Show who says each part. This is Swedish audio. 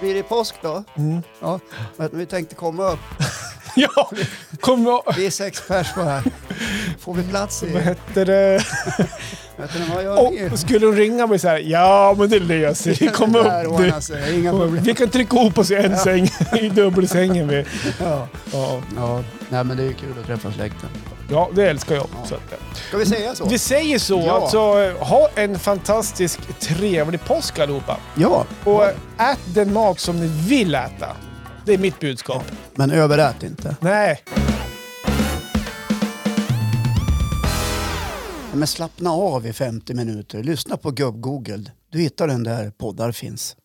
Speaker 1: blir det påsk då?
Speaker 2: Mm.
Speaker 1: Ja, men vi tänkte komma upp.
Speaker 2: Ja, kom och...
Speaker 1: Vi är sex pers bara. Får vi plats i...
Speaker 2: Vad hette det?
Speaker 1: Vet ni vad gör ni?
Speaker 2: Och skulle hon ringa mig så här? Ja, men det löser vi. Kom
Speaker 1: Det
Speaker 2: upp
Speaker 1: där
Speaker 2: du.
Speaker 1: ordnar sig, Inga problem.
Speaker 2: Vi kan trycka ihop oss i en säng, i dubbelsängen. Vi.
Speaker 1: Ja.
Speaker 2: Ja.
Speaker 1: ja, nej men det är ju kul att träffa släkten.
Speaker 2: ja, det älskar jag. Så att, eh,
Speaker 1: Ska vi säga så?
Speaker 2: vi säger så.
Speaker 1: Ja.
Speaker 2: Alltså, ha en fantastisk, trevlig påsk allihopa.
Speaker 1: Ja,
Speaker 2: Och ät den mat som ni vill äta. Det är mitt budskap.
Speaker 1: men överät inte.
Speaker 2: Nej.
Speaker 1: Men slappna av i 50 minuter. Lyssna på Gubb-Google. Du hittar den där poddar finns.